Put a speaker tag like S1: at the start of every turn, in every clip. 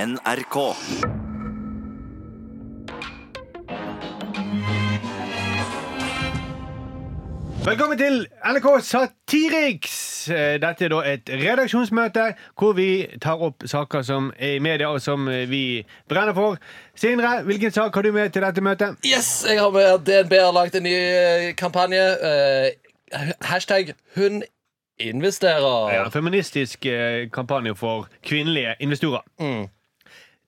S1: NRK.
S2: Velkommen til NRK Satiriks. Eh, Dette er da et redaksjonsmøte hvor vi tar opp saker som er i media, og som eh, vi brenner for. Sindre, hvilken sak har du med til dette møtet?
S3: Yes, jeg har med at DNB har lagt en ny eh, kampanje. eh, hashtag 'hun investerer'.
S2: En feministisk eh, kampanje for kvinnelige investorer.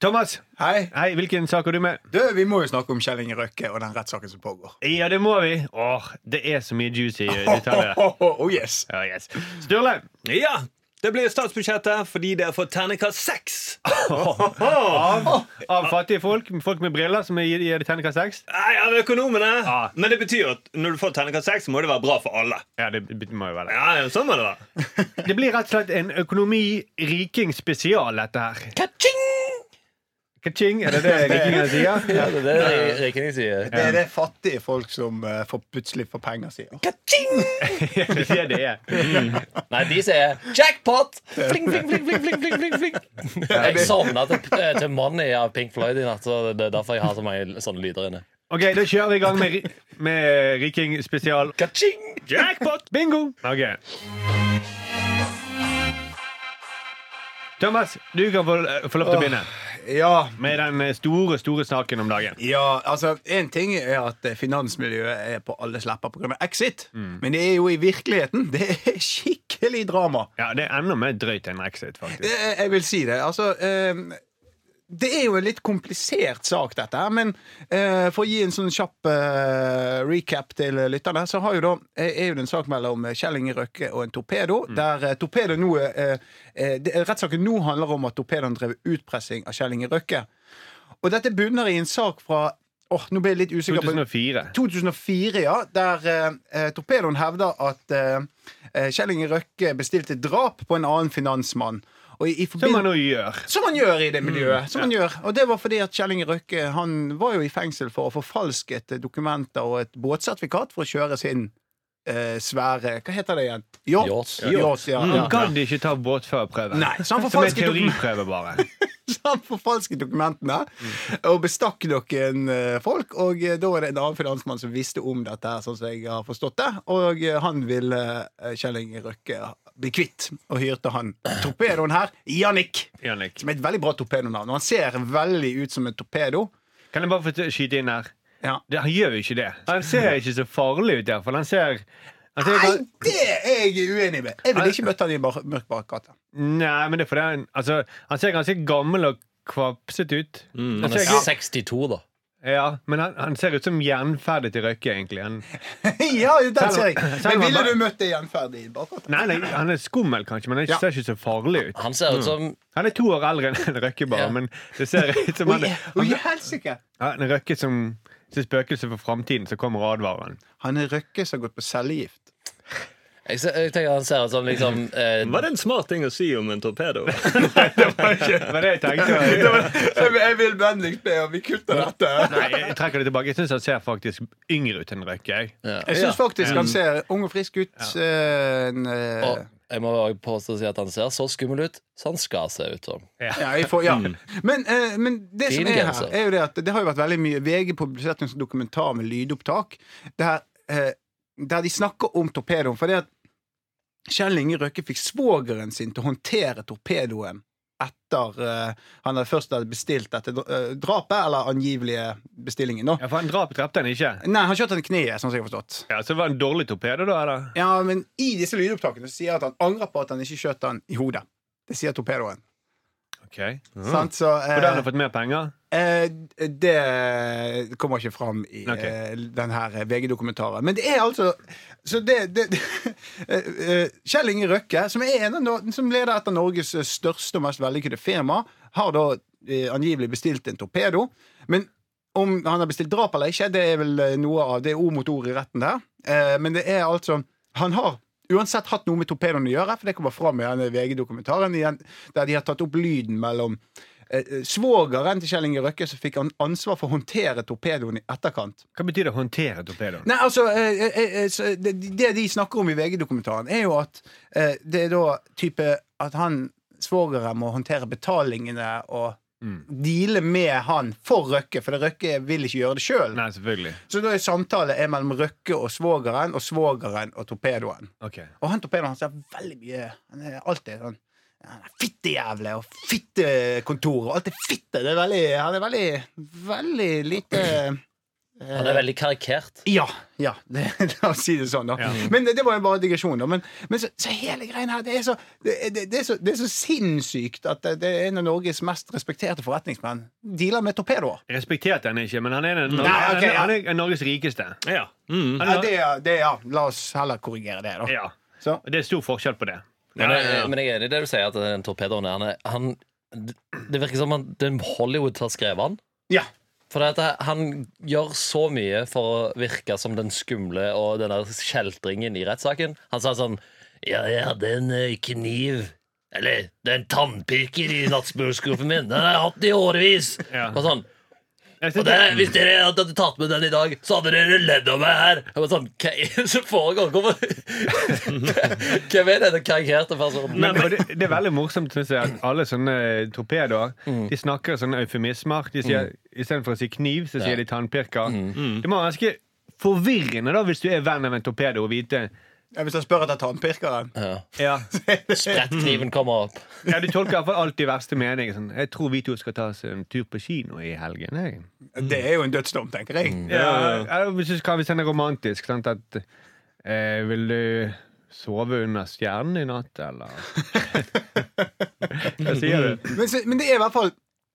S2: Thomas,
S4: Hei.
S2: hei, hvilken sak har du med?
S4: Du, vi må jo snakke om Kjell Inge Røkke og den rettssaken som pågår.
S2: Ja, det må vi. Åh, Det er så mye juicy eh, detaljer.
S4: Oh, oh, oh, yes.
S2: Ja, yes. Sturle.
S5: Ja! Det blir statsbudsjettet fordi det har fått terningkast seks.
S2: Av, av fattige folk, folk med briller, som gir gir det terningkast seks.
S5: Nei, av økonomene.
S2: Ja.
S5: Men det betyr at når du får terningkast seks, må det være bra for alle.
S2: Ja, det må jo være det.
S5: Ja, ja, sånn må det være.
S2: Det blir rett og slett en økonomi-riking-spesial, dette her.
S3: Ka-ching!
S2: Kaching, er det det rikingene sier?
S3: Ja, det er det Rikingen sier.
S4: Det er det fattige folk som eh, får plutselig får penger, sier.
S3: Ka-ching!
S2: Ja, det er det det er.
S3: Nei, de sier 'jackpot'! Fling, fling, fling, fling, fling, fling, fling, fling. Jeg sovna til, eh, til 'Money' av Pink Floyd i natt, så det er derfor jeg har så mange sånne lyder inne.
S2: Ok, da kjører vi i gang med, ri- med riking-spesial.
S3: Ka-ching!
S2: Jackpot! Bingo! Ok. Thomas, du kan få, eh, få lov til å begynne
S4: Ja,
S2: med den eh, store, store saken om dagen.
S4: ja, altså En ting er at eh, finansmiljøet er på alles lepper pga. Exit, men det er jo i virkeligheten. Det er skikkelig drama.
S2: Ja, det er enda mer drøyt enn Exit, faktisk.
S4: Eh, Jeg vil si det. Altså eh, Det er jo en litt komplisert sak, dette her. Men eh, for å gi en sånn kjapp eh, recap til lytterne, så har jo da, eh, er jo det en sak mellom Kjell Inge Røkke og en torpedo. Der eh, torpedo nå eh, eh, det- Rettssaken nå handler om at torpedoen drev utpressing av Kjell Inge Røkke. Og dette bunner i en sak fra Åh, nå ble jeg litt usikker. på-
S2: 2004.
S4: 2004, ja, der eh, eh, torpedoen hevder at eh, eh, Kjell Inge Røkke bestilte drap på en annen finansmann. Og i, i
S2: Som
S4: forbind-
S2: man Mm, nå gjør.
S4: som han gjør i det miljøet. Som han gjør. Og det var fordi at Kjell Inge Røkke han var jo i fengsel for å forfalske et dokumenter og et båtsertifikat for å kjøre sin eh, svære Hva heter det igjen? Yacht.
S3: Yacht.
S4: Yacht, ja, ja.
S2: Man kan ikke ta båtførerprøve.
S4: Nei, så han
S2: Som en
S4: forfalsket dokument-
S2: teoriprøve, bare.
S4: Så han forfalsket dokumentene og bestakk noen eh, folk. Og eh, da er det en annen finansmann som visste om dette, her, sånn som jeg har forstått det. Og eh, han ville eh, Kjell Inge Røkke bli kvitt, og hyrte han torpedoen her, Jannik.
S2: Jannik.
S4: Som er et veldig bra torpedonavn. Og han ser veldig ut som en torpedo.
S2: Kan jeg bare få t- skyte inn her?
S4: Ja.
S2: Det, han gjør jo ikke det. Han ser ikke så farlig ut, iallfall. Han ser han ser
S4: Nei,
S2: bare-
S4: det er jeg uenig med! Jeg ville ikke møtt han i bar- mørk bakgate.
S2: Nei, men det er fordi han, altså, han ser ganske gammel og kvapset ut.
S3: Mm, Han
S2: ser
S3: er
S2: ikke-
S3: 62, da.
S2: ja, men han, han ser ut som jernferdig til Røkke, egentlig. Han,
S4: ja, den ser jeg.
S2: Selv om- selv om
S4: Men
S2: han
S4: ville
S2: bare-
S4: du møtt det gjenferdig i bakgata?
S2: nei, nei, han er skummel, kanskje, men han
S4: Ja.
S2: ser ikke så farlig ut.
S3: Han ser ut som
S2: Han er to år eldre enn Røkke, bare,
S3: Ja.
S2: men det ser ut som han er
S4: Oi, helsike!
S2: han er Røkke som som spøkelse for framtiden, så kommer advareren.
S4: Han er Røkke som har gått på cellegift.
S3: Jeg, ser, jeg tenker han ser ut som liksom eh,
S5: Var det en smart ting å si om en torpedo?
S2: Det var det jeg tenkte.
S4: Jeg vil vennligst be om vi kutter dette.
S2: Nei, jeg trekker det tilbake. Jeg syns han ser faktisk yngre ut enn Røkke. Jeg.
S4: Jeg syns faktisk han ser ung og frisk ut. eh, en, eh,
S3: Og jeg må også påstå å si at han ser så skummel ut som han skal se ut som.
S4: Ja, jeg får, ja. Men, eh, men det som
S3: Fin
S4: er her,
S3: genser.
S4: er jo det at det har jo vært veldig mye VG publiserte en sånn dokumentar med lydopptak der, eh, der de snakker om torpedoen. For det at Kjell Inge Røkke fikk svogeren sin til å håndtere torpedoen etter eh, han hadde først hadde bestilt dette eh, drapet, eller angivelige bestillingen, da.
S2: Ja, for han drap drepte han ikke.
S4: Nei, han kjørte den i kneet, sånn som jeg har forstått.
S2: Ja, Så det var en dårlig torpedo, da? eller?
S4: Ja, men i disse lydopptakene så sier han at han angrer på at han ikke skjøt den i hodet. Det sier torpedoen.
S2: Ok
S4: Sant? Så, eh,
S2: Og da har han fått mer penger?
S4: Eh, det kommer ikke fram i
S2: Ok.
S4: eh, den her VG-dokumentaren. Men det er altså Så det, det eh, eh, Kjell Inge Røkke, som, er en av, no- som leder et av Norges største og mest vellykkede firma, har da eh, angivelig bestilt en torpedo. Men om han har bestilt drap eller ikke, det er vel eh, noe av det er ord mot ord i retten der. Eh, men det er altså Han har uansett hatt noe med torpedoen å gjøre, for det kommer fram i denne VG-dokumentaren, igjen, der de har tatt opp lyden mellom eh, eh, svogeren til Kjell Inge Røkke, så fikk han ansvar for å håndtere torpedoen i etterkant.
S2: Hva betyr det å håndtere torpedoen?
S4: Nei, altså, eh, eh, eh, så det, det de snakker om i VG-dokumentaren, er jo at eh, det er da type at han svogeren må håndtere betalingene og deale med han for Røkke, for Røkke vil ikke gjøre det sjøl.
S2: Nei, selvfølgelig.
S4: Så da er samtale er mellom Røkke og svogeren, og svogeren og torpedoen.
S2: Ok.
S4: Og han torpedoen hans er veldig mye Han er alltid sånn ja, han er Fittejævle og fittekontor og alt er fitte. Det er veldig, han er veldig, veldig lite
S3: Han er veldig karikert.
S4: ja. ja det, la oss si det sånn, da. Men det, det var jo bare digresjon. da Men, men så, så hele greien her, det er så, det, det, det er så, det er så sinnssykt at det, det er en av Norges mest respekterte forretningsmenn dealer med torpedoer.
S2: Respekterte han ikke, men han er, en,
S4: Nei, ok, ja.
S2: han er, han er Norges rikeste.
S5: Ja. Mm.
S4: Ja, det, er- det, er- ja, la oss heller korrigere det, da.
S2: Ja.
S4: Så.
S2: Og det er stor forskjell på det.
S3: Men,
S5: Ja, ja, ja.
S3: jeg- men jeg er enig i det du sier, at den torpedoen er han, er- han Det virker som han, den Hollywood har skrevet han.
S4: Ja.
S3: For det at han gjør så mye for å virke som den skumle og den der kjeltringen i rettssaken. Han sa sånn Ja, jeg hadde en eh, kniv. Eller det er en tannpirker i nattbordskuffen min. Den har jeg hatt i årevis.
S2: Ja.
S3: Og sånn
S2: Jeg
S3: og
S2: synes
S3: det,
S2: det-
S3: hvis dere hadde tatt med den i dag, så hadde dere ledd av meg her. Jeg var sånn, Hva er det som foregår? Hvorfor- Hvem er denne karikerte personen?
S2: Men, og det, det er veldig morsomt synes jeg, at alle sånne eh, torpedoer
S4: Mm.
S2: De snakker sånne eufemismer. De sier, Istedenfor å si kniv, så sier
S3: Ja.
S2: de tannpirker.
S4: Mm.
S2: Det må være ganske forvirrende da hvis du er venn av en torpedo og vite
S4: Ja, Hvis han spør etter tannpirkeren.
S3: Ja.
S2: Ja,
S3: Sprettkniven kommer opp.
S2: ja Du tolker iallfall alt i verste mening. Sånn, 'Jeg tror vi to skal ta oss en tur på kino i helgen.' Jeg.
S4: Det er jo en dødsdom, tenker jeg.
S2: Ja, eller hvis, du skal- hvis den er romantisk, sant at eh, 'Vil du sove under stjernen i natt', eller Hva sier du?
S4: Men, så, men det er i hvert fall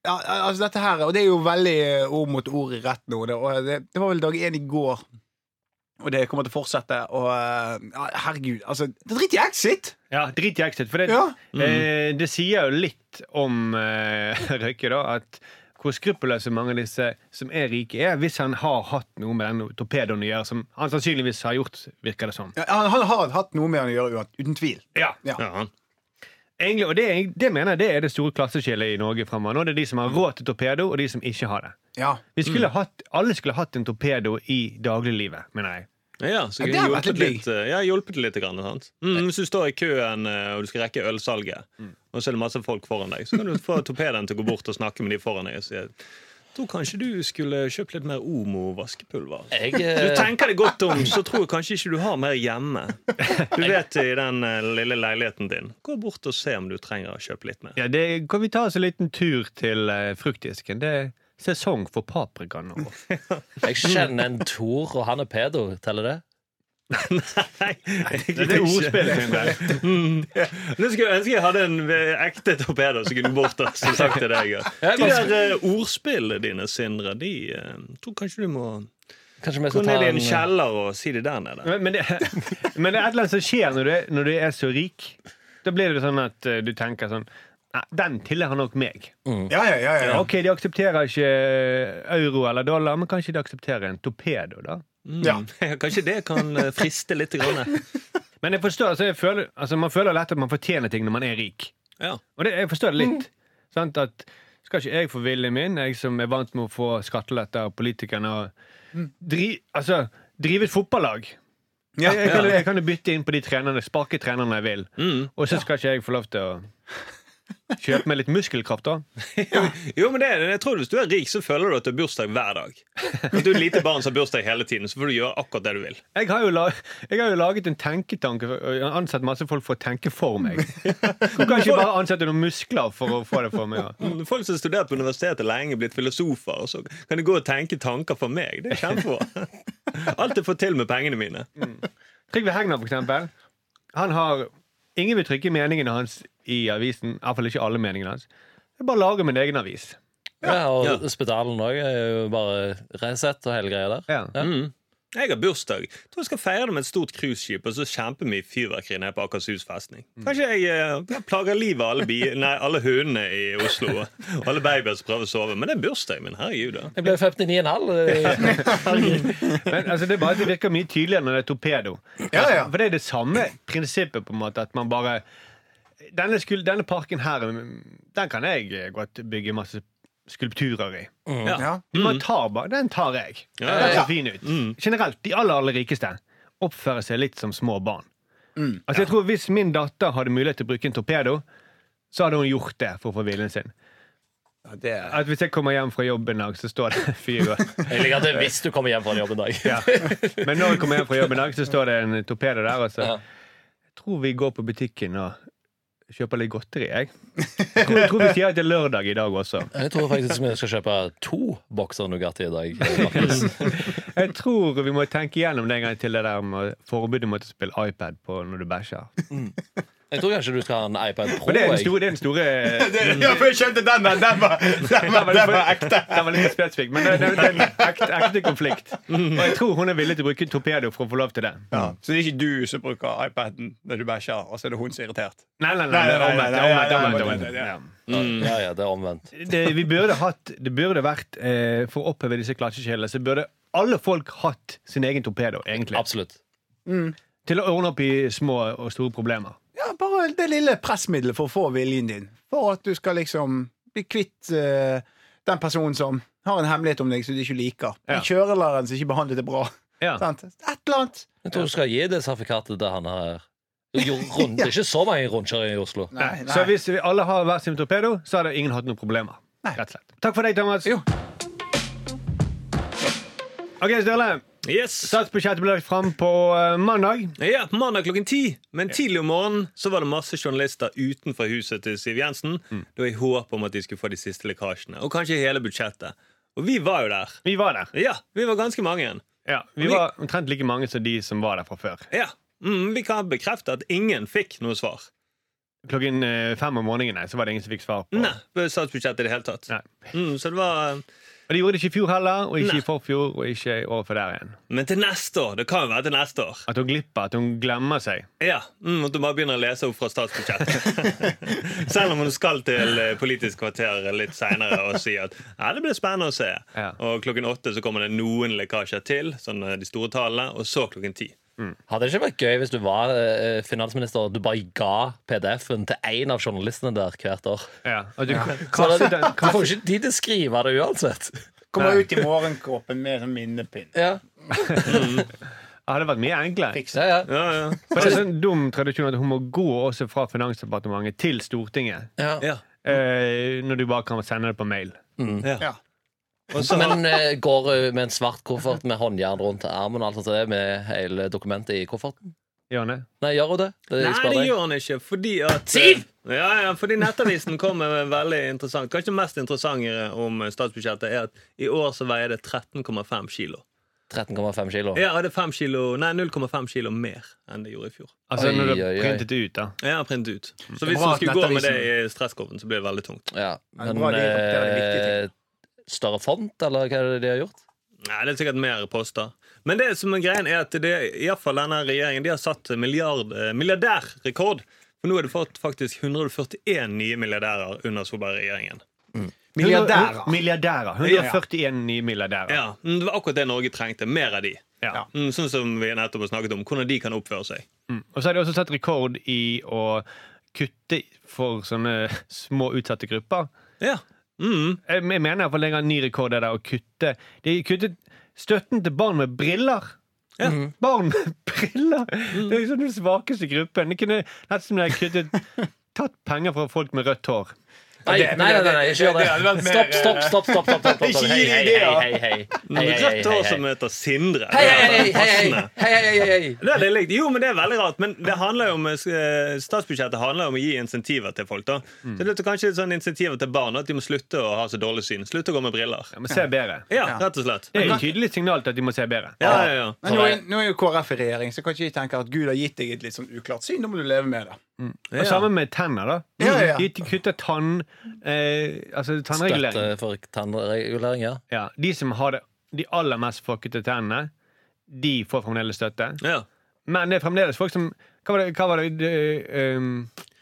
S4: ja, altså dette her, Og det er jo veldig eh, ord mot ord i rett nå. Det, og det, det var vel dag én i går, og det kommer til å fortsette. Og eh, ja, herregud, altså Det driter i Exit!
S2: Ja, drit i exit. For det,
S4: Ja.
S2: eh, det sier jo litt om eh, Røkke, da, at hvor skruppelløse mange av disse som er rike, er, hvis han har hatt noe med den torpedoen å gjøre, som han sannsynligvis har gjort, virker det som.
S4: Ja, han, han har hatt noe med han å gjøre, uansett, uten tvil.
S2: Ja.
S4: Ja.
S5: Ja.
S2: Egentlig, og det, er- det mener jeg det er det store klasseskillet i Norge fremover. Nå er det de som har råd til torpedo, og de som ikke har det.
S4: Ja.
S2: Vi skulle hatt, alle skulle hatt en torpedo i dagliglivet, mener jeg.
S5: Ja, så
S4: Ja,
S5: jeg
S4: det har
S5: har
S4: vært
S5: hjulpet
S4: litt
S5: litt, eh, ja, hjulpet litt grann, sant? Mm, Hvis du står i køen eh, og du skal rekke ølsalget,
S4: Mm.
S5: og så er det masse folk foran deg, så kan du få torpedoen til å gå bort og snakke med de foran deg og si tror kanskje du skulle kjøpt litt mer Omo-vaskepulver.
S3: Jeg,
S5: Du
S3: eh,
S5: tenker deg godt om, så tror jeg kanskje ikke du har mer hjemme. Du vet i den eh, lille leiligheten din. Gå bort og se om du trenger å kjøpe litt mer.
S2: Ja, det, kan vi ta oss en liten tur til eh, fruktdisken? Det er sesong for paprika nå.
S3: jeg kjenner en Tor, og han er pedo. Teller det?
S5: Nei,
S2: Det er ordspillet sin der.
S5: Nå skulle jeg ønske jeg hadde en eh, ekte torpedo som kunne bort og så sagt til deg. ja.
S3: Jeg
S5: De
S3: bare-
S5: der eh, ordspillene dine, Sindre, de eh, tror kanskje du må
S3: Kanskje vi
S5: gå
S3: skal ta
S5: ned i
S3: en eh,
S5: en kjeller og si det der nede.
S2: Men, men, det, men det er et eller annet som skjer når du, er, når du er så rik. Da blir det sånn at eh, du tenker sånn Nei, den tilhører nok meg.
S4: Mm. Ja, ja, ja, ja.
S2: Ok, de aksepterer ikke euro eller dollar, men kanskje de aksepterer en torpedo, da?
S4: ja.
S5: Kanskje det kan eh, friste litt. Grann.
S2: Men jeg forstår, altså, jeg føler, altså, man føler lett at man fortjener ting når man er rik.
S5: Ja.
S2: Og det, jeg forstår det litt. Sant? At skal ikke jeg få viljen min, jeg som er vant med å få skatteletter av politikerne, og dri, altså, drive et fotballag?
S4: Ja, Mm.
S2: Jeg, jeg, kan, jeg kan jo bytte inn på de trenerne, sparke trenerne jeg vil, og så skal ikke jeg få lov til å kjøpe meg litt muskelkraft, da.
S5: Jo, men det, er- jeg tror Hvis du er rik, så føler du at du har bursdag hver dag. At du er lite barn som har bursdag hele tiden, så får du gjøre akkurat det du vil.
S2: Jeg har jo, la, jeg har jo laget en tenketanke for- og ansatt masse folk for å tenke for meg. Du kan ikke bare ansette noen muskler for å få det for meg. da.
S5: Mm, Folk som har studert på universitetet lenge, blitt filosofer, og så kan de gå og tenke tanker for meg. Det er kjempebra. Alt jeg får til med pengene mine.
S2: Trygve Hegnar, for eksempel. Han har Ingen vil trykke meningene hans i avisen. Iallfall ikke alle meningene hans. Jeg bare lager min egen avis.
S3: Ja, og
S5: Ja.
S3: spitalen òg er jo bare Resett og hele greia der.
S2: Ja.
S5: Jeg har bursdag. Jeg tror jeg skal feire det med et stort cruiseskip og så kjempemye fyrverkeri nede på Akershus festning. Kanskje jeg, eh, jeg plager livet av alle, bi nei, alle hundene i Oslo og alle babyer som prøver å sove. Men det er bursdagen min. Herregud. da.
S3: Jeg ble eh. 59,5.
S2: Men altså, det er bare at det virker mye tydeligere når det er torpedo.
S4: ja, ja.
S2: For det er det samme prinsippet, på en måte, at man bare Denne, skul denne parken her, den kan jeg godt bygge masse skulpturer i.
S4: ja.
S2: Man tar bare, Den tar jeg.
S5: Ja,
S2: Den
S4: ja.
S2: ser fin ut. Generelt, de aller, aller rikeste oppfører seg litt som små barn. altså jeg tror Hvis min datter hadde mulighet til å bruke en torpedo, så hadde hun gjort det for å få viljen sin.
S4: Ja, det er
S2: At hvis jeg kommer hjem fra jobb en dag, så står det en fyr og
S3: Jeg liker at det er hvis du kommer hjem fra en jobb en dag.
S2: ja. Men når jeg kommer hjem fra jobb en dag, så står det en torpedo der. Og så
S3: Ja.
S2: Jeg tror vi går på butikken og kjøper litt godteri, jeg. Jeg tror, jeg tror vi sier at det er lørdag i dag også.
S3: Jeg tror faktisk vi skal kjøpe to bokser Nugatti i dag. Markus.
S2: Jeg tror vi må tenke igjennom det en gang til det der med forbudet mot å spille iPad på når du bæsjer.
S3: Jeg tror kanskje du skal ha en iPad Pro.
S2: Men det er den
S3: jeg.
S2: store, det er den store
S4: Ja, for jeg skjønte den der! Den var, den var, den var ekte.
S2: Den var litt spesifikk, men det det- det er en ekte, ekte konflikt. Og jeg tror hun er villig til å bruke torpedo for å få lov til det.
S4: Så det er ikke du som bruker iPaden når du bæsjer, og så er det hun som er irritert?
S2: Nei, nei, nei.
S4: Nei, nei, nei,
S2: omvendt,
S4: nei, nei,
S2: omvendt, omvendt,
S4: nei,
S2: omvendt,
S4: nei,
S2: ja.
S4: nei,
S3: Ja, ja, det er omvendt.
S2: Det, vi burde hatt, det burde vært, eh, for å oppheve disse klasseskillene, så burde alle folk hatt sin egen torpedo, egentlig.
S3: Absolutt.
S2: Til å ordne opp i små og store problemer.
S4: Ja, bare det lille pressmiddelet for å få viljen din. For at du skal liksom bli kvitt eh, den personen som har en hemmelighet om deg som du ikke liker.
S2: Ja.
S4: Den kjørelæreren som ikke behandlet det bra.
S2: Ja.
S4: Sant? Et eller annet.
S3: Jeg tror du skal gi det sertifikatet til han her. Jo, rund, det er ikke så mange rundkjøringer i Oslo.
S4: Nei, nei.
S2: Så hvis vi alle har hver sin torpedo, så hadde ingen hatt noen problemer.
S4: Nei.
S2: Rett og slett. Takk for deg, Thomas.
S4: Jo.
S2: Ok, Sturle.
S5: Yes.
S2: Statsbudsjettet ble lagt fram på eh, mandag.
S5: Ja, Mandag klokken ti. Men tidlig om morgenen så var det masse journalister utenfor huset til Siv Jensen. Det var i håp om at de skulle få de siste lekkasjene. Og kanskje hele budsjettet. Og vi var jo der.
S2: Vi var der.
S5: Ja, vi var ganske mange igjen.
S2: Ja, vi var omtrent like mange som de som var der fra før.
S5: Ja. Mm, vi kan bekrefte at ingen fikk noe svar.
S2: Klokken eh, fem om morgenen nei, så var det ingen som fikk svar på.
S5: Nei, på statsbudsjettet i det hele tatt.
S2: Nei.
S5: Mm, så det var
S2: Og de gjorde det ikke i fjor heller, og ikke
S5: Nei.
S2: i forfjor, og ikke i året før der igjen.
S5: Men til neste år. Det kan jo være til neste år.
S2: At hun glipper, at hun glemmer seg.
S5: Ja, mm, At du bare begynner å lese opp fra statsbudsjettet. Selv om hun skal til eh, Politisk kvarter litt seinere og si at ja, det blir spennende å se.
S2: Ja.
S5: Og klokken åtte så kommer det noen lekkasjer til, sånn eh, de store tallene, og så klokken ti.
S3: Hadde det ikke vært gøy hvis du var eh, finansminister og du bare ga PDF-en til én av journalistene der hvert år?
S2: Ja. At du
S3: Så det,
S2: kastet
S3: du
S2: den
S3: får jo ikke tid til å skrive det uansett.
S4: Kommer ut i morgenkåpen med en sånn minnepinn.
S3: Ja,
S2: Ja, det hadde vært mye enklere.
S3: ja, ja.
S5: Ja, ja.
S2: For det er sånn dum tradisjon at hun må gå også fra Finansdepartementet til Stortinget.
S3: ja.
S5: ja.
S2: eh, når du bare kan sende det på mail.
S4: Ja.
S5: Og så har
S3: Men eh, går eh, med en svart koffert med håndjern rundt armen og alt sånt der, med hele dokumentet i kofferten?
S2: Gjerne.
S3: Nei, gjør hun det? det er
S5: Nei,
S3: jeg spør
S5: det
S3: deg.
S5: gjør han ikke, fordi at eh,
S3: Siv!
S5: Ja, ja, fordi Nettavisen kom med veldig interessant. Kanskje det mest interessante om eh, statsbudsjettet er at i år så veier det 13,5 kilo.
S3: 13,5 kilo.
S5: Ja, det er fem kilo, nei, 0,5 kilo mer enn det gjorde i fjor.
S2: Altså
S3: Oi,
S2: når du
S3: oi,
S2: har
S3: oi.
S2: printet det ut, da.
S5: Jeg har printet ut. Så hvis
S4: Bra
S5: du
S4: at
S5: skulle gå med det
S4: Nettavisen-
S5: i stresskoffen, så blir det veldig tungt.
S3: Ja,
S4: Ja, det
S3: men
S4: var de- det var de viktige
S3: eh, Større font, eller hva er det de har gjort?
S5: Nei, Det er sikkert mer poster. Men det som er greien er at det, i hvert fall denne regjeringen de har satt milliard, eh, milliardærrekord. For nå er det fått faktisk 141 nye milliardærer under Solberg-regjeringen.
S4: Milliardærer.
S2: Milliardærer. 141 nye milliardærer.
S5: Ja, mm, Det var akkurat det Norge trengte. Mer av de.
S2: Ja.
S5: Mm, Sånn som vi nettopp har snakket om. Hvordan de kan oppføre seg.
S2: Mm. Og så har de også satt rekord i å kutte for sånne små utsatte grupper.
S5: Ja. Mm.
S2: Jeg jeg mener iallfall en gang ny rekord er der å kutte. De kuttet støtten til barn med briller.
S5: Ja.
S2: Barn med briller! Det er liksom den svakeste gruppen. Det kunne nesten som de har kuttet Tatt penger fra folk med rødt hår.
S3: Nei, nei,
S4: det-
S3: nei, nei, nei ikke gjør
S4: det hadde
S3: det.
S4: vært mer-
S3: Stopp, stopp, stopp. stopp, stopp, stopp, stopp.
S4: Ikke
S3: Hei,
S4: gi
S3: hei, hei,
S4: ideer.
S3: hei, hei. Hei, hei, hei,
S5: Rødt hår som
S3: hei.
S5: heter Sindre.
S3: Hei, hei, hei,
S5: Det er
S3: hei, hei,
S5: passende.
S3: hei, hei, hei, hei.
S5: Det er det likt. Jo, men det er veldig rart. Men det handler jo om, eh, statsbudsjettet handler jo om å gi insentiver til folk. da Så det er kanskje litt sånn insentiver til barn at de må slutte å ha så dårlig syn. Slutte å gå med briller.
S2: Ja, men se bedre.
S5: Ja, rett og slett.
S2: Det er jo et tydelig signal til at de må se bedre.
S5: Ja, ja, ja.
S4: Men nå er, nå er jo KrF i regjering, så kan ikke de tenke at Gud har gitt deg et litt sånn uklart syn. Da må du leve med det.
S2: Og sammen med tenner, da.
S4: Ja, ja, ja.
S2: De kutter tann... Eh, altså tannregulering.
S3: Støtte for tannregulering, ja.
S2: Ja, de som har det, de aller mest fuckete tennene, de får fremdeles støtte.
S5: ja.
S2: Men det er fremdeles folk som Hva var det? Hva var det det, um,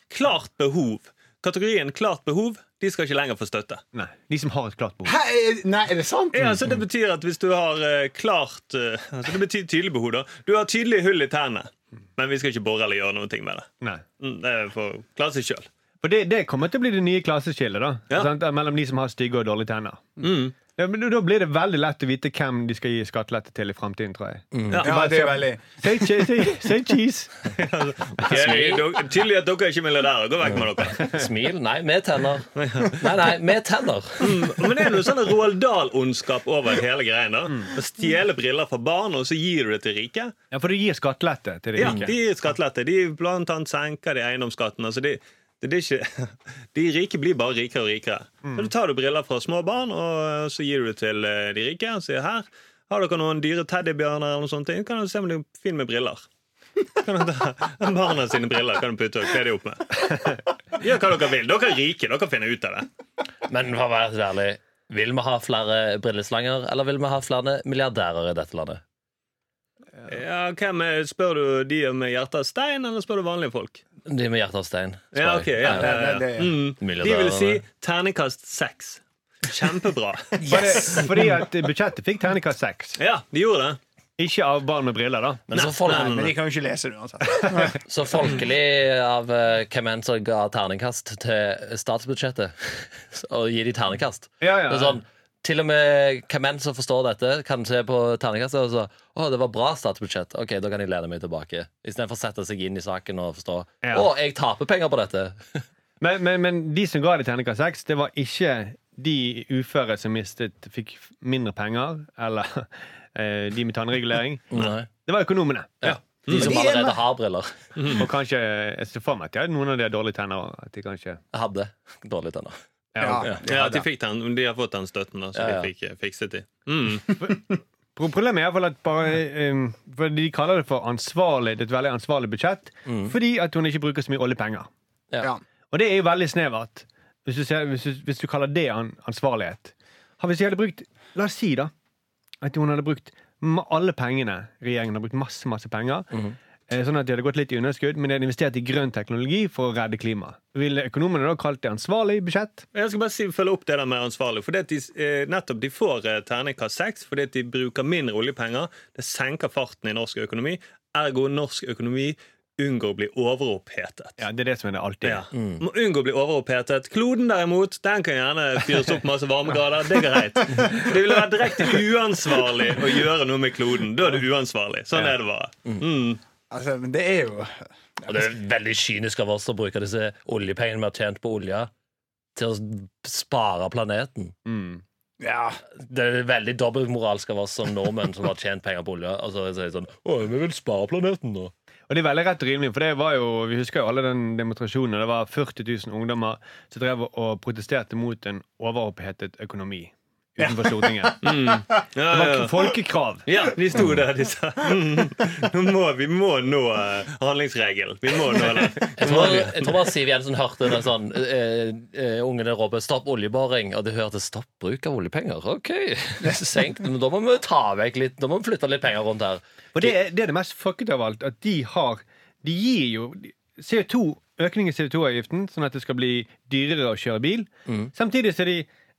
S5: Klart behov. Kategorien klart behov de skal ikke lenger få støtte.
S2: nei, de som har et klart behov.
S4: Hæ? er- Nei, er det sant?
S5: Ja, så Det betyr at hvis du har eh, klart eh, altså Det betyr tydelig behov. da Du har tydelig hull i tennene, men vi skal ikke bore eller gjøre noe med det.
S2: Nei.
S5: Mm, Det er for klare seg sjøl.
S2: For det, det kommer til å bli det nye klasseskillet da
S5: Ja.
S2: sant? mellom de som har stygge og dårlige tenner. Ja, men da blir det veldig lett å vite hvem de skal gi skattelette til i framtiden, tror jeg.
S5: Ja.
S4: Ja, det er veldig
S2: Say, che- say, say cheese!
S5: Ok, dere- Tydelig at dere er ikke milliardærer. Gå vekk med dere.
S3: Smil? Nei, med tenner. Nei, nei, med tenner.
S5: Mm, Men det er noe sånn Roald Dahl-ondskap over hele greien. da Å Stjele briller fra barn, og så gir du det til rike.
S2: Ja, for du gir skattelette til de
S5: Ja,
S2: rike.
S5: De gir skattelette. De blant annet senker de eiendomsskatten. Altså de, det, det er ikke, de rike blir bare rikere og rikere. Så Da tar du briller fra små barn, og så gir du det til eh, de rike. Og sier her har dere noen dyre teddybjørner eller noe sånt. inn? Kan du se om det er fint med briller. Kan du ta Barna sine briller kan du putte og kle dem opp med. Gjør hva dere vil. Dere er rike. Dere finner ut av det.
S3: Men for å være helt ærlig, vil vi ha flere brilleslanger, eller vil vi ha flere milliardærer i dette landet?
S5: Ja, hvem er, Spør du de med hjertet av stein, eller spør du vanlige folk?
S3: De med hjerte av stein. spør
S5: Ja,
S3: jeg.
S5: ok, ja, ja,
S4: Nei,
S5: ja,
S4: det er-
S5: Mm. De vil si terningkast seks. Kjempebra.
S3: Yes!
S2: Fordi at budsjettet fikk terningkast seks.
S5: Ja, de gjorde det.
S2: Ikke av barn med briller, da.
S3: Men så, folk,
S4: Men de kan jo ikke lese det uansett.
S3: så folkelig av eh, hvem enn som ga terningkast til statsbudsjettet, og gi de terningkast.
S2: Ja, ja.
S3: Det er sånn, til og med hvem enn som forstår dette, kan se på terningkastet og så Å, det var bra statsbudsjett. Ok, da kan jeg lene meg tilbake. Istedenfor å sette seg inn i saken og forstå.
S2: Ja.
S3: Å, jeg taper penger på dette.
S2: Men, men, men de som ga det terningkast seks, det var ikke de uføre som mistet fikk mindre penger, eller eh, de med tannregulering.
S3: Nei. Mm.
S2: Det var økonomene.
S3: Ja. De som
S4: Men de er med.
S3: allerede har briller,
S2: Og kanskje jeg ser for meg at de hadde noen av de har dårlige tenner. og At de kanskje
S3: hadde dårlig tenner.
S2: ja.
S4: Ja,
S5: Ja, de, fikk den, de har fått den støtten, da, så
S3: Ja, ja.
S5: de fikk eh, fikset de. Mm.
S2: Pro- Problemet er i hvert fall at bare, um, for de kaller det for ansvarlig, det er et veldig ansvarlig budsjett fordi at hun ikke bruker så mye oljepenger.
S4: Ja.
S2: Og det er jo veldig snevert, hvis du, ser, hvis du, hvis du kaller det an ansvarlighet. Har Hvis de hadde brukt La oss si da at hun hadde brukt ma- alle pengene regjeringen har brukt masse masse penger, eh, sånn at de hadde gått litt i underskudd, men de hadde investert i grønn teknologi for å redde klimaet. Ville økonomene da kalt det ansvarlig budsjett?
S5: Men Jeg skal bare si, følge opp det der med ansvarlig. Fordi at de, eh, nettopp De får eh, terningkast seks fordi at de bruker mindre oljepenger. Det senker farten i norsk økonomi. Ergo norsk økonomi unngår å bli overopphetet.
S2: Ja, Det er det som er det alltid.
S5: Ja. Må unngå å bli overopphetet. Kloden derimot, den kan gjerne fyres opp masse varmegrader. Det er greit. Det ville vært direkte uansvarlig å gjøre noe med kloden. Da er det uansvarlig. Sånn er det bare. Mm.
S4: Altså, men det er jo
S3: Og det er veldig kynisk av oss å bruke disse oljepengene vi har tjent på olja, til å spare planeten.
S2: Mm.
S4: Ja.
S3: Det er veldig dobbeltmoralsk av oss som nordmenn som har tjent penger på olja. Og så sier de sånn Å, vi vil spare planeten nå.
S2: Og det er veldig rett og rimelig, for det var jo, vi husker jo alle den demonstrasjonen. og Det var 40 000 ungdommer som drev og protesterte mot en overopphetet økonomi utenfor Stortinget. Det
S5: Ja, ja,
S2: var
S5: ja.
S2: folkekrav.
S5: Ja, de sto der, de sa. Mm. Nå må, vi må nå eh, handlingsregelen. Vi må nå det.
S3: Jeg tror, jeg tror bare Siv Jensen hørte den sånn eh, eh, Ungene roper 'stopp oljeboring', og de hørte 'stopp bruk av oljepenger'. OK, senk det. Men da må vi ta vekk litt Da må vi flytte litt penger rundt her.
S2: Og det er, det er det mest fucket av alt, at de har De gir jo CO2, økning i CO2-avgiften, sånn at det skal bli dyrere å kjøre bil. Samtidig så de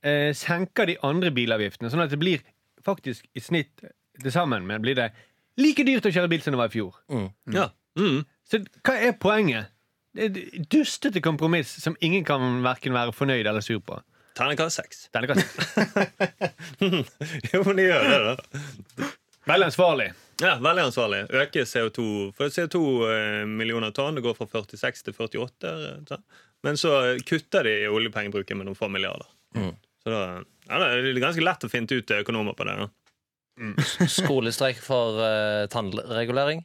S2: eh, senker de andre bilavgiftene, sånn at det blir faktisk i snitt til sammen men blir det like dyrt å kjøre bil som det var i fjor.
S5: Ja. Mm.
S2: Så hva er poenget? Det er et dustete kompromiss som ingen kan hverken være fornøyd eller sur på.
S5: Terningkast seks.
S2: Denne gangen.
S5: Jo, men de gjør det, da.
S2: Veldig ansvarlig.
S5: Ja, Veldig ansvarlig. Øke CO2 For CO2 eh, millioner tonn det går fra 46 til 48. eh, sånn. Men så kutter de i oljepengebruken med noen få milliarder.
S3: Mm.
S5: Så da, ja, da er det ganske lett å finne ut eh, økonomer på det. da
S3: Skolestreik for eh, tannregulering.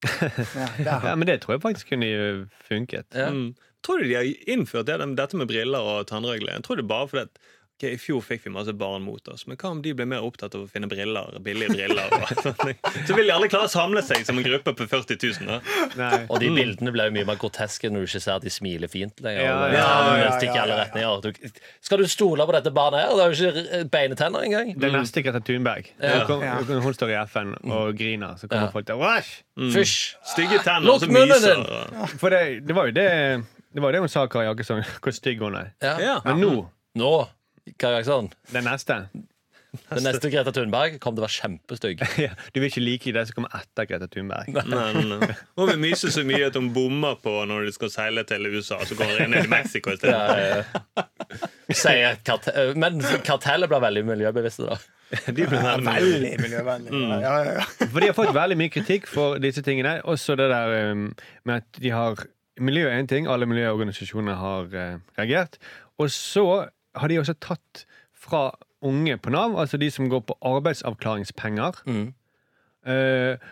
S4: ja der.
S2: Ja, men det tror jeg faktisk kunne eh, funket.
S3: Ja.
S5: Mm. Tror du de har innført det, dette med briller og tannregulering? Tror du bare fordi at ok, I fjor fikk vi masse barn mot oss, men hva om de ble mer opptatt av å finne briller? billige briller og sånne ting? Så vil de aldri klare å samle seg som en gruppe på 40 000. Da.
S2: Nei.
S3: Og de bildene ble jo mye mer groteske når du ikke ser at de smiler fint lenger.
S2: Ja,
S3: Og-
S2: ja,
S4: ja, ja,
S3: og stikker i alle
S4: ja, ja.
S3: retninger. Du, skal du stole på dette barnet her? Det har jo ikke eh, beinetenner engang.
S2: Det er neste Greta Thunberg.
S3: Ja.
S2: Hun, kom,
S4: Ja.
S2: hun- hun står i FN og griner, så kommer
S3: Ja.
S2: folk til Wash!
S3: Fysj!
S5: Stygge tenner
S3: Lukk
S5: som
S3: munnen
S5: myser.
S3: din!
S5: og-
S2: For det, det var jo det Det var jo det hun sa, Kari Jakkesson, hvor stygg hun er.
S3: Ja.
S5: Ja.
S2: Men nå,
S3: Nå, Kari Jaksson,
S2: det neste
S3: Den neste Greta Thunberg kommer til å være kjempestygg.
S2: Ja, du vil ikke like det som kommer etter Greta Thunberg.
S5: Men eh, hun vil myse så mye at hun bommer på når de skal seile til USA. Så går hun inn i Mexico i stedet.
S3: Eh, sier karte- eh, Men kartellet blir veldig miljøbevisste, da.
S5: De blir veldig-
S4: Veldig miljøvennlig.
S5: Mm.
S4: Ja, ja, ja.
S2: For de har fått veldig mye kritikk for disse tingene. Også det der um, med at de har Miljø er én ting, alle miljøorganisasjoner har eh, reagert. Og så har de også tatt fra unge på Nav, altså de som går på arbeidsavklaringspenger, eh,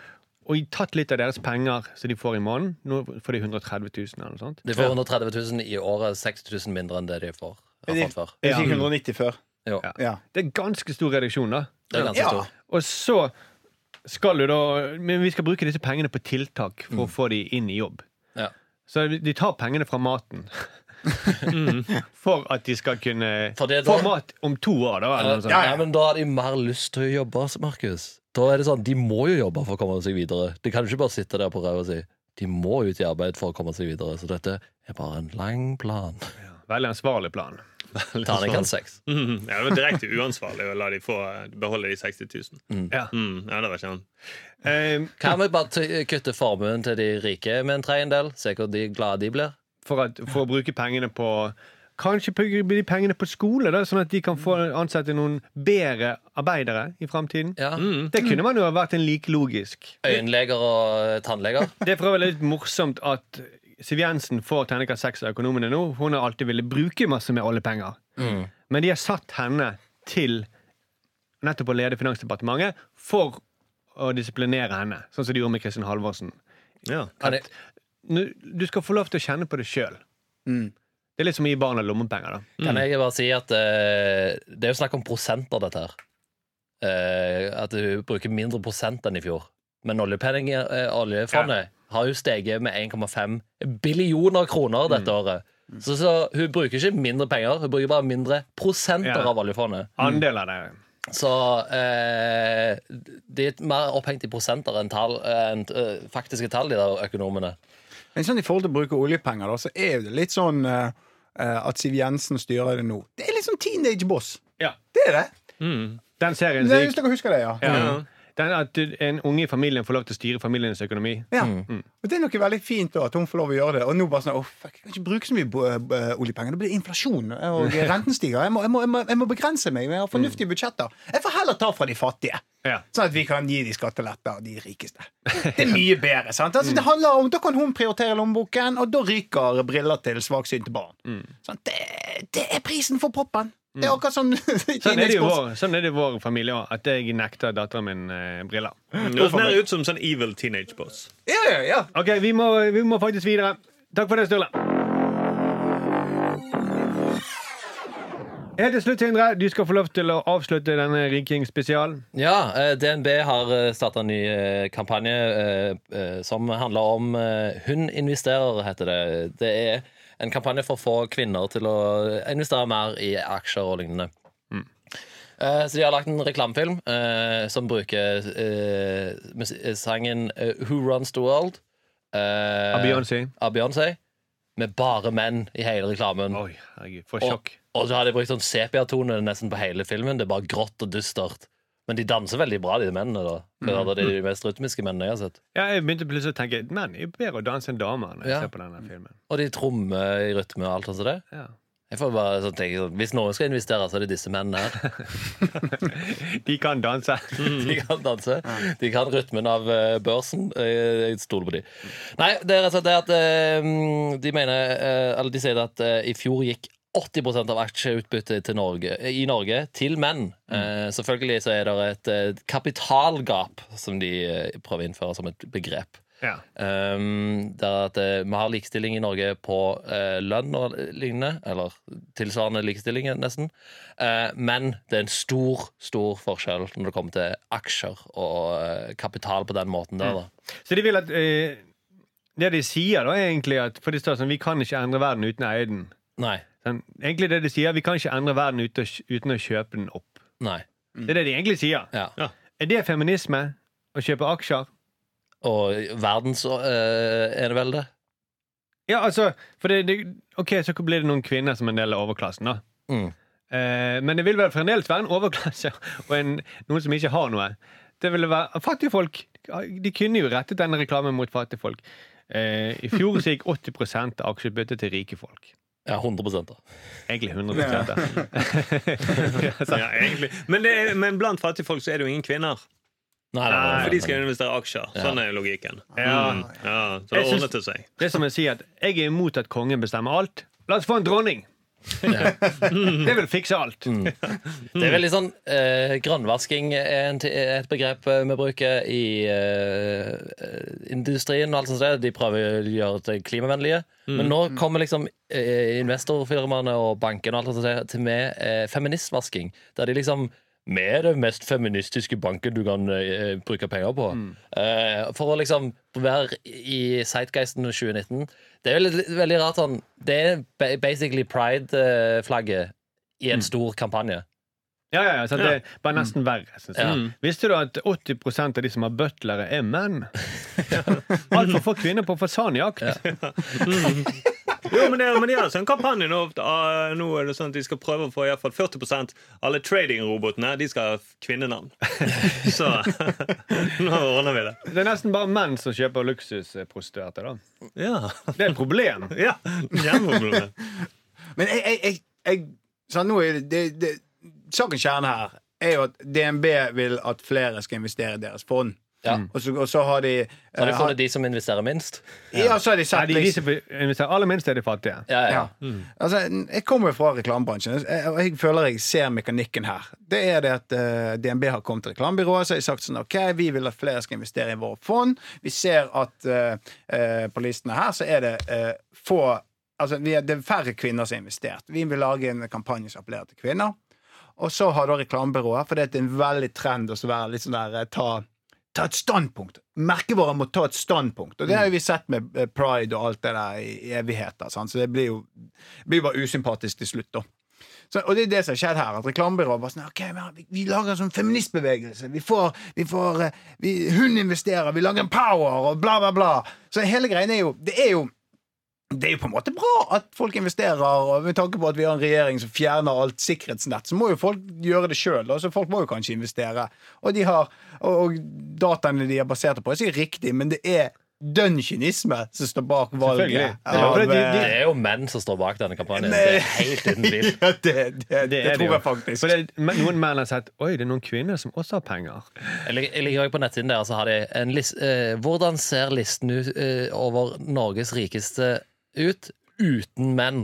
S2: og tatt litt av deres penger som de får i måneden. Nå får de 130 000 eller noe sånt.
S3: De får 130 000 i året, 6000 mindre enn det de får. Har fått før.
S4: Jeg fikk 190 før.
S3: Jo,
S2: Ja.
S4: Ja.
S2: Det er ganske stor reduksjon, da.
S3: det er ganske
S4: Ja.
S3: stor.
S2: Og så skal du da Men vi skal bruke disse pengene på tiltak for å få de inn i jobb.
S3: Mm. Ja.
S2: Så de tar pengene fra maten. Mm. For at de skal kunne
S3: For det er
S2: få
S3: da-
S2: mat om to år, da. Eller noe sånt.
S3: Ja, men da har de mer lyst til å jobbe, altså, Markus. Da er det sånn, De må jo jobbe for å komme seg videre. De kan jo ikke bare sitte der på ræva si. De må ut i arbeid for å komme seg videre. Så dette er bare en lang plan.
S2: Veldig ansvarlig plan.
S3: Terningkast seks.
S5: Mm, ja, det var direkte uansvarlig å la de få beholde de 60 000.
S2: Ja.
S5: Mm, ja, det var ikke han.
S2: Eh,
S3: Kan vi bare t- kutte formuen til de rike med en tredjedel? Se hvor de glade de blir.
S2: for, at, for å bruke pengene på Kanskje bruke de pengene på skole, da, sånn at de kan få ansette noen bedre arbeidere i framtiden.
S3: Ja.
S2: Det kunne man jo ha vært en like logisk.
S3: Mm. Øyenleger og eh, tannleger.
S2: Det er for øvrig litt morsomt at Siv Jensen får terningkast seks av økonomene nå. Hun har alltid villet bruke masse mer oljepenger. Men de har satt henne til nettopp å lede Finansdepartementet for å disiplinere henne, sånn som de gjorde med Kristin Halvorsen.
S5: Ja.
S3: Kan jeg,
S2: Nå- Du skal få lov til å kjenne på det sjøl.
S4: Mm.
S2: Det er litt som å gi barna lommepenger, da.
S3: kan jeg bare si at eh, det er jo snakk om prosenter, dette her. Eh, at du bruker mindre prosent enn i fjor. Men oljepenninger, eh, oljefondet har jo steget med 1,5 billioner kroner dette året. Så, så hun bruker ikke mindre penger, hun bruker bare mindre prosenter
S2: Ja.
S3: av oljefondet.
S2: Andeler der.
S3: Så eh, de er mer opphengt i prosenter enn tall, enn, eh, faktiske tall, de der økonomene.
S4: Men sånn i forhold til å bruke oljepenger, da, så er det litt sånn eh, eh, at Siv Jensen styrer det nå. Det er litt sånn teenage boss.
S2: Ja.
S4: Det er det.
S2: Den serien som
S4: det er
S2: gikk
S4: hvis dere husker det, ja.
S2: ja. Den at du- en unge i familien får lov til å styre familiens økonomi.
S4: Ja.
S2: Mm.
S4: Og Det er noe veldig fint da, at hun får lov å gjøre det. Og nå bare sånn, «Å, fuck, Jeg kan ikke bruke så mye bo- eh, oljepenger. Det blir inflasjon, og renten stiger. Jeg må, jeg, må, jeg, må, jeg må begrense meg. Jeg har fornuftige budsjetter. Jeg får heller ta fra de fattige.
S2: Mm. Ja.
S4: Sånn at vi kan gi de skatteletter, de rikeste. Det er mye bedre. sant? Altså,
S2: Mm.
S4: det handler om, Da kan hun prioritere lommeboken, og da ryker briller til svaksynte barn.
S2: Mm.
S4: Sånn, det, det er prisen for proppen. Det er akkurat sånn
S2: Sånn er det i vår, sånn er det i vår familie òg, at jeg nekter datteren min eh, briller.
S5: Det høres mer ut som sånn evil teenage boss.
S4: Ja, ja, ja.
S2: Ok, vi må, vi må faktisk videre. Takk for det, Sturle. Helt til slutt, Sindre, du skal få lov til å avslutte denne riking-spesialen.
S3: Ja, eh, DNB har starta en ny eh, kampanje eh, eh, som handler om eh, Hun investerer, heter det. Det er en kampanje for å få kvinner til å eh, investere mer i aksjer og lignende.
S2: Mm.
S3: Eh, Så de har lagt en reklamefilm eh, som bruker eh, mus- eh, sangen eh, Who Runs the World? eh,
S2: Av Beyoncé.
S3: Av Beyoncé. Med bare menn i hele reklamen.
S2: Oi, herregud, for
S3: Og,
S2: sjokk.
S3: og så har de brukt sånn sepiatone nesten på hele filmen. Det er bare grått og dystert. Men de danser veldig bra, de mennene. da
S2: Mm.
S3: For Det er de mest rytmiske mennene jeg har sett.
S2: Ja, jeg begynte plutselig å tenke menn er jo bedre å danse enn damer. når jeg
S3: Ja.
S2: ser på denne filmen.
S3: Og de trommer i rytme og alt sånt. som det.
S2: Ja.
S3: Jeg får bare sånn tenke sånn, Hvis noen skal investere, så er det disse mennene her.
S2: De kan danse.
S3: De kan danse. De kan rytmen av eh, børsen. Eh, Jeg stoler på de. Nei, det er rett og slett det at eh, mm, de mener eh, Eller de sier at eh, i fjor gikk 80 av aksjeutbyttet til Norge, i Norge til menn. Eh, selvfølgelig så er det et eh, kapitalgap som de eh, prøver å innføre som et begrep.
S2: Ja.
S3: Um, det er at eh, Vi har likestilling i Norge på eh, lønn og lignende, eller tilsvarende likestilling, nesten. Eh, men det er en stor stor forskjell når det kommer til aksjer og eh, kapital på den måten der.
S5: Mm.
S3: da
S2: Så de vil at eh, Det de sier, da, er egentlig at for de står sånn, vi kan ikke endre verden uten å eie den.
S3: Nei.
S2: Sånn, egentlig det de sier, vi kan ikke endre verden uten å, uten å kjøpe den opp.
S3: nei
S2: Det er det de egentlig sier.
S3: ja.
S2: Er det feminisme å kjøpe aksjer?
S3: Og verdens eh, enevelde.
S2: Ja, altså for det, det, Ok, så blir det noen kvinner som en del av overklassen, da.
S3: Mm.
S2: Eh, men det vil vel fremdeles være en overklasse og en, noen som ikke har noe. Det ville være Fattige folk de kunne jo rettet denne reklamen mot fattige folk. Eh, I fjor så gikk 80 av aksjebyttet til rike folk.
S3: Ja, 100 da.
S2: Egentlig 100 ja. så,
S5: Ja, egentlig. men, det er, men blant fattige folk så er det jo ingen kvinner.
S3: Nei, nei,
S5: For
S3: nei,
S5: de skal jo investere i aksjer. Sånn er jo logikken.
S2: Ja.
S5: Mm, ja,
S2: Jeg
S5: så det
S2: syns-
S5: ordnet det seg.
S2: Det er som jeg sier at jeg er imot at kongen bestemmer alt. La oss få en dronning! Det vil fikse alt.
S4: Mm.
S3: Det er veldig sånn eh, Grønnvasking er en, er et begrep eh, vi bruker i eh, industrien. og alt sånt der. De prøver å gjøre det klimavennlige. Men nå kommer liksom eh, investorfirmaene og bankene og alt sånt der til med eh, feministvasking. Der de liksom Vi er det mest feministiske banken du kan eh, bruke penger på. Eh, for å liksom være i Sightgeisten 2019. Det er veldig, veldig rart sånn Det er ba- basically pride-flagget i en stor kampanje.
S2: Ja, ja, ja, sant?
S5: Ja.
S2: Det var nesten verre. Synes jeg. Mm.
S3: Ja.
S2: Visste du at 80 av de som har butlere, er menn? Altfor få kvinner på fasanjakt.
S5: Jo, men det, er- men de har en sånn kampanje nå. Ah, nå er det sånn at De skal prøve å få i hvert fall 40 alle trading-robotene De skal ha kvinnenavn. Så nå ordner vi det.
S2: Det er nesten bare menn som kjøper luksusprostituerte. da.
S5: Ja.
S2: Det er et problem.
S5: ja. Kjerneproblemet.
S4: Men jeg, jeg, jeg, jeg sånn, nå er det, det, det, Sakens kjerne her er jo at DNB vil at flere skal investere i deres fond.
S3: Ja.
S4: Og, så, og så har de
S3: Så har de
S4: eh,
S3: funnet de som investerer minst.
S4: ja, så har de
S2: Nei,
S4: sett
S2: de, de som investerer aller minst, er de fattige.
S3: Ja, ja.
S4: Ja. Altså, jeg kommer jo fra reklamebransjen, jeg- og jeg føler jeg ser mekanikken her. Det er det at eh, DNB har kommet til reklamebyrået så har de sagt sånn OK, vi vil at flere skal investere i våre fond. Vi ser at eh, eh, på listene her så er det eh, få Altså, vi er, det er færre kvinner som har investert. Vi vil lage en kampanje som appellerer til kvinner. Og så har da reklamebyrået, for det er en veldig trend å så være litt sånn der eh, ta, ta et standpunkt. Merkevarer må ta et standpunkt. Og det har jo vi sett med eh, pride og alt det der i i evigheter. Sant? Så det blir jo blir bare usympatisk til slutt, da. Så, og det er det som har skjedd her. At reklamebyrået bare sånn OK, men vi, vi lager en sånn feministbevegelse. Vi får, vi får eh, vi, Hun investerer, vi lager en power, og bla, bla, bla. Så hele greien er jo Det er jo det er jo på en måte bra at folk investerer, og med tanke på at vi har en regjering som fjerner alt sikkerhetsnett, så må jo folk gjøre det sjøl. Så folk må jo kanskje investere. Og, de har, og, og dataene de er basert på, er sikkert riktig, men det er dønn kynisme som står bak
S2: Selvfølgelig.
S4: valget.
S2: Ja, for det- de-
S4: eh,
S2: de-
S3: Det er jo menn som står bak denne kampanjen.
S4: Nei.
S3: Det er helt uten tvil.
S4: ja, det, det, det,
S2: er
S4: tror
S2: jo.
S4: jeg faktisk.
S2: For det, men noen menn har sett Oi, det er noen kvinner som også har penger.
S3: Jeg lig- jeg ligger også på nettsiden der, så har de en list, eh, Hvordan ser listen ut, eh, over Norges rikeste ut uten menn?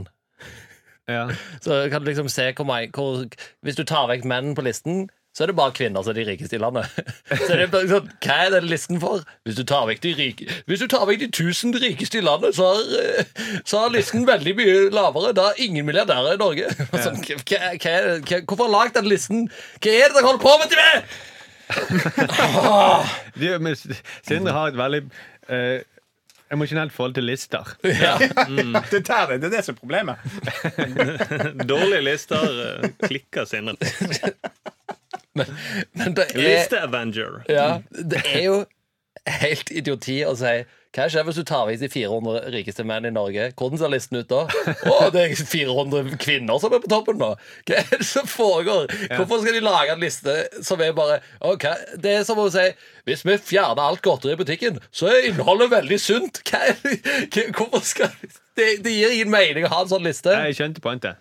S2: Ja.
S3: Så kan du liksom se hvor, mange- hvor Hvis du tar vekk menn på listen, så er det bare kvinner som er de rikeste i landet. Så er det bare sånn, Hva er den listen for? Hvis du tar vekk de rike Hvis du tar vekk de tusen rikeste i landet, så har, eh, så har listen veldig mye lavere. Da er ingen milliardærer i Norge. Og Sånn, hva, hva, er- hva, hvorfor har dere lagd den listen? Hva er det dere holder på med til meg?!
S2: De, men Sindre har et veldig eh, emosjonelt forhold til lister.
S3: Ja.
S4: Ja, det, der, det er det som er problemet.
S5: Dårlige lister eh, klikker Sindre.
S3: Men, men det er
S5: Liste-Avenger.
S3: Ja, det er jo helt idioti å si hva skjer hvis du tar vekk de 400 rikeste menn i Norge? Hvordan ser listen ut da? Å, det er 400 kvinner som er på toppen nå! Hva er det som foregår? Hvorfor skal de lage en liste som er bare ok, Det er som å si hvis vi fjerner alt godteri i butikken, så er innholdet veldig sunt! Hva er det? hva- Hvorfor skal det, det gir ingen mening å ha en sånn liste.
S2: Jeg skjønte poenget.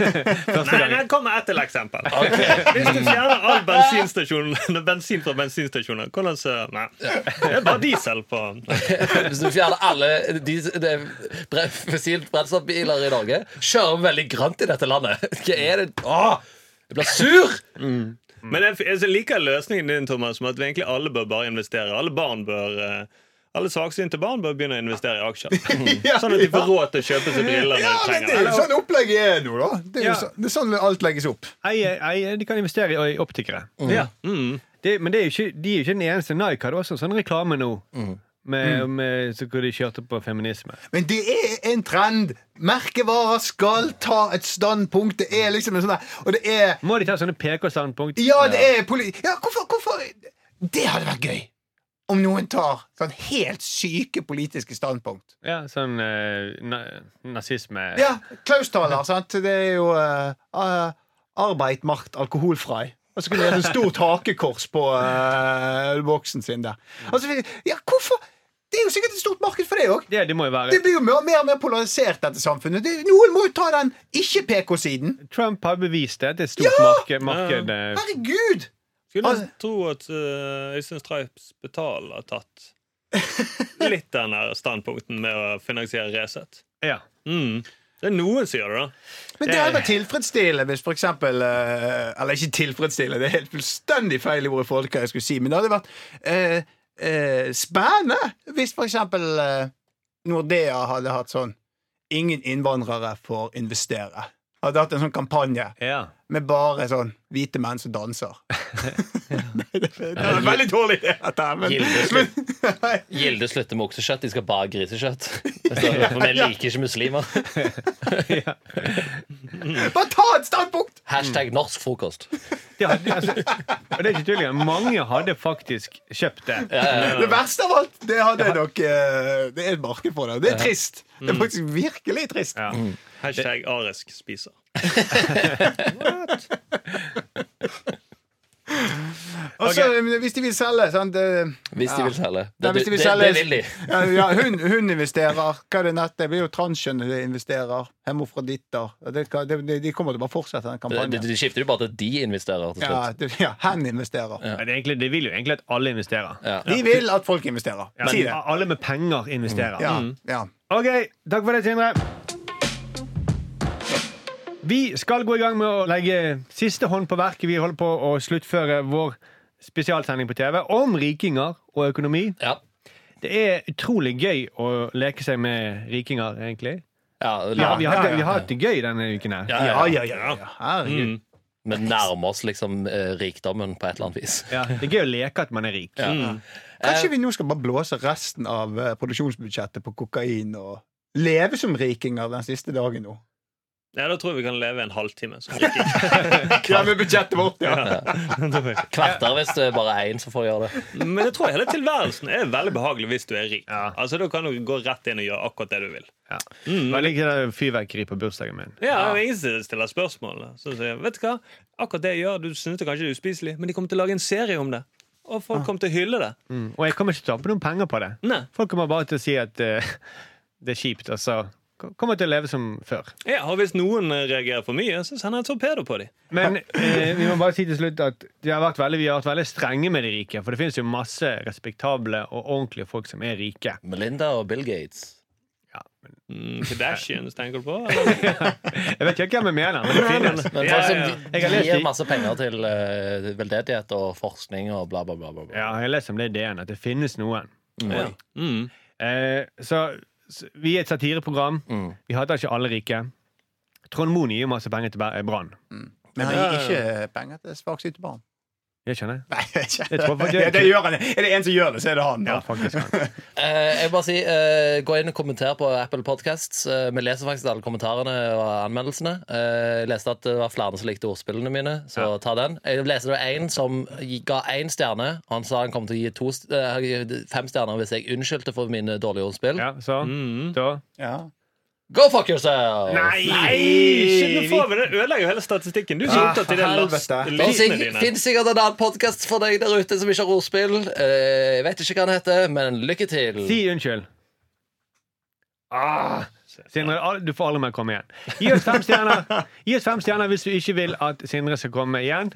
S5: Nei, nei, her kommer et til eksempel.
S3: Ok.
S5: Hvis du fjerner all bensinstasjon, bensin fra bensinstasjoner, hvordan så Nei. Det er bare diesel på
S3: Hvis du fjerner alle de, de bre- fossilt brennstoffbiler i Norge, kjører vi veldig grønt i dette landet. Hva er det? Åh, jeg blir sur!
S4: Mm.
S5: Men jeg, altså, jeg liker løsningen din, Thomas, med at vi egentlig alle bør bare investere. Alle barn bør eh, alle saksynte barn bør begynne å investere i aksjer. Sånn at de får råd til å kjøpe seg briller
S4: Ja, men
S5: når de
S4: det
S5: trenger
S4: er
S5: det.
S4: jo sånn opplegget er nå, da. Det er, jo
S2: Ja.
S4: så, det er sånn alt legges opp.
S2: Jeg, jeg, de kan investere i, i optikere.
S5: Ja. Mm.
S2: Det, men det er jo ikke, de er jo ikke den eneste. Nike hadde også sånn reklame nå.
S5: Mm.
S2: Med, med, så hvor de kjørte på feminisme.
S4: Men det er en trend. Merkevarer skal ta et standpunkt. Det er liksom en sånn der Og det er
S2: Må de ta sånne PK-standpunkt?
S4: Ja, det er poli... Ja, hvorfor, hvorfor Det hadde vært gøy. Om noen tar sånn helt syke politiske standpunkt.
S2: Ja, sånn eh, na nazisme.
S4: Ja, Klaus-taler, sant. Det er jo eh, eh, Arbeid macht alkoholfrei. Og så kunne det vært et stort hakekors på eh, boksen sin der. Altså, ja, hvorfor? Det er jo sikkert et stort marked for det òg.
S2: Det, det må jo
S4: Det
S2: være.
S4: blir jo mer mer og mer polarisert, dette samfunnet. Det, noen må jo ta den ikke-PK-siden.
S2: Trump har bevist det. Det er et stort marked. marked eh,
S4: Herregud!
S5: Skulle nesten
S4: Altså-
S5: tro at eh, Øystein Straups Betal har tatt litt den der standpunkten med å finansiere Resett.
S2: eh, ja.
S5: Mm. Det er noen som gjør det, da.
S4: Men det hadde vært tilfredsstillende hvis for eksempel eh, Eller ikke tilfredsstillende, det er helt fullstendig feil ord i forhold til hva jeg skulle si, men det hadde vært eh, eh, spennende hvis for eksempel eh, Nordea hadde hatt sånn Ingen innvandrere får investere. Hadde hatt en sånn kampanje
S2: ja.
S4: med bare sånn hvite menn som danser. det er en veldig dårlig idé, dette her, men,
S3: Gilde
S4: men nei,
S3: Gilde slutter med oksekjøtt, de skal bare ha grisekjøtt. Så, For vi liker ikke muslimer.
S4: Bare ta et standpunkt!
S3: Hashtag norsk frokost.
S2: Det, hadde, altså, og det er ikke tull engang. Mange hadde faktisk kjøpt det.
S4: Det verste av alt, det hadde jeg nok eh, Det er et marked for det. Det er trist. Det er faktisk virkelig trist.
S2: Ja.
S5: Hashtag arisk spiser.
S4: Og så eh, hvis de vil selge sant? eh,
S3: Hvis de
S4: Ja.
S3: vil selge.
S4: Nei,
S3: Det,
S4: hvis de vil
S3: det,
S4: selge-
S3: det vil de.
S4: ja, ja, hun, hun investerer. Hva er det nett? Det blir jo transkjønnede investerer. Hemofroditter. Det, kan- det, de- de kommer til å bare fortsette den
S3: De,
S4: kampanjen.
S3: de skifter jo bare til at de investerer til
S4: Ja,
S3: slutt.
S4: det, ja, hen investerer.
S2: Men det er egentlig, de vil jo egentlig at alle investerer.
S3: Ja.
S4: De vil at folk investerer.
S2: Men
S4: Si det.
S2: alle med penger investerer.
S4: Ja, ja.
S2: Ok, takk for det, Sindre. Vi skal gå i gang med å legge siste hånd på verket. Vi holder på å sluttføre vår spesialsending på TV om rikinger og økonomi.
S3: Ja.
S2: Det er utrolig gøy å leke seg med rikinger, egentlig.
S3: Ja,
S2: Ja, vi har
S4: ja, ja.
S2: vi har hatt det gøy denne uken her.
S3: Ja, ja,
S4: Ja,
S3: ja.
S4: ja, ja. ja. Herregud.
S5: Mm.
S3: Vi nærmer oss liksom eh, rikdommen på et eller annet vis.
S2: Ja, det er gøy å leke at man er rik.
S3: Ja.
S5: Mm.
S4: Kanskje vi nå skal bare blåse resten av eh, produksjonsbudsjettet på kokain og leve som rikinger den siste dagen nå?
S5: Ja, da tror jeg vi kan leve en halvtime. som drikker.
S4: Ja, med budsjettet vårt, ja.
S3: Kvarter hvis det er bare én som får gjøre det.
S5: Men jeg tror hele tilværelsen er veldig behagelig hvis du er rik.
S2: Ja.
S5: Altså, Da kan du gå rett inn og gjøre akkurat det du vil.
S2: Ja. Jeg liker det fyrverkeri på bursdagen min.
S5: Mm, Ja, og Ingen som stiller spørsmål. Så sier jeg, vet Du hva? Akkurat det jeg gjør, du synes det kanskje er uspiselig, men de kommer til å lage en serie om det. Og folk kommer til å hylle det.
S2: Mm. Og jeg kommer ikke til å tape noen penger på det.
S5: Ah. Nei.
S2: Folk kommer bare til å si at eh, det er kjipt, og så kommer jeg til å leve som før.
S5: Ja, og Hvis noen eh, reagerer for mye, så sender jeg en torpedo på dem.
S2: Men eh, vi må bare si til slutt at det har vært veldig, vi har vært veldig strenge med de rike. For det finnes jo masse respektable og ordentlige folk som er rike.
S3: Melinda og Bill Gates.
S2: Ja, men,
S5: Mm, Kardashians, tenker du på? Eller?
S2: jeg vet ikke hvem jeg mener, men det finnes.
S3: Men
S5: Ja,
S3: folk som
S5: ja,
S2: Jeg har lest
S3: gir
S2: i-
S3: masse penger til eh, veldedighet og forskning og bla, bla, bla. bla, bla.
S2: Ja, jeg leser om det i DN, at det finnes noen.
S3: Mm.
S5: Mm.
S2: Eh, så, så vi er et satireprogram.
S3: Mm.
S2: Vi hater ikke alle rike. Trond Moen gir jo masse penger til Ber- eh, Brann.
S4: Men han gir ikke penger til svaksynte barn.
S2: Jeg skjønner.
S4: Nei, jeg vet
S2: Jeg tror
S4: ikke.
S2: faktisk-
S4: Ja, det gjør han. Er det en som gjør det, så er det han.
S2: Ja,
S4: Ja.
S2: faktisk. han.
S3: Eh, jeg vil bare si, eh, Gå inn og kommenter på Apple Podcasts. Eh, vi leser faktisk alle kommentarene og anmeldelsene. Eh, jeg leste at det var flere som likte ordspillene mine, så
S2: Ja.
S3: ta den. Jeg leste det var en som gi- ga én stjerne. Han sa han kom til å gi to, st- eh, fem stjerner hvis jeg unnskyldte for mine dårlige ordspill.
S2: Ja, så. Da.
S4: Ja.
S3: Go fuck yourself!
S5: Shit, nå får vi det ødelegger jo hele statistikken. Du er så
S4: Ah,
S5: opptatt i det last-
S4: helvete.
S3: Det finnes
S5: listene
S3: sikk-
S5: dine.
S3: finnes sikkert en annen podkast for deg der ute som ikke har ordspill. Eh, jeg vet ikke hva den heter, men lykke til.
S2: Si unnskyld. Ah, Sindre, al- du får aldri mer komme igjen. Gi oss fem stjerner Gi oss fem stjerner hvis du ikke vil at Sindre skal komme igjen.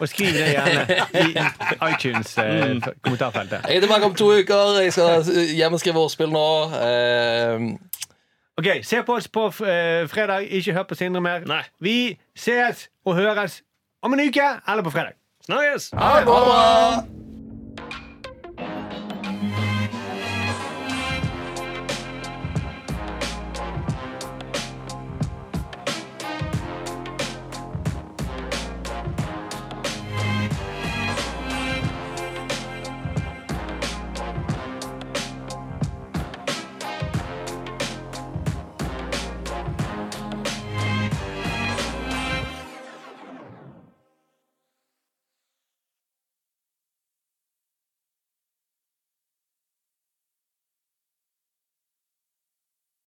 S2: Og skriv det gjerne i eh, iTunes-kommentarfeltet.
S3: Jeg er tilbake om to uker. Jeg skal eh, hjem og skrive ordspill nå. Eh,
S2: Ok, Se på oss på eh, fredag. Ikke hør på Sindre mer.
S5: Nei.
S2: Vi ses og høres om en uke eller på fredag.
S5: Snakkes!
S4: Ha det bra!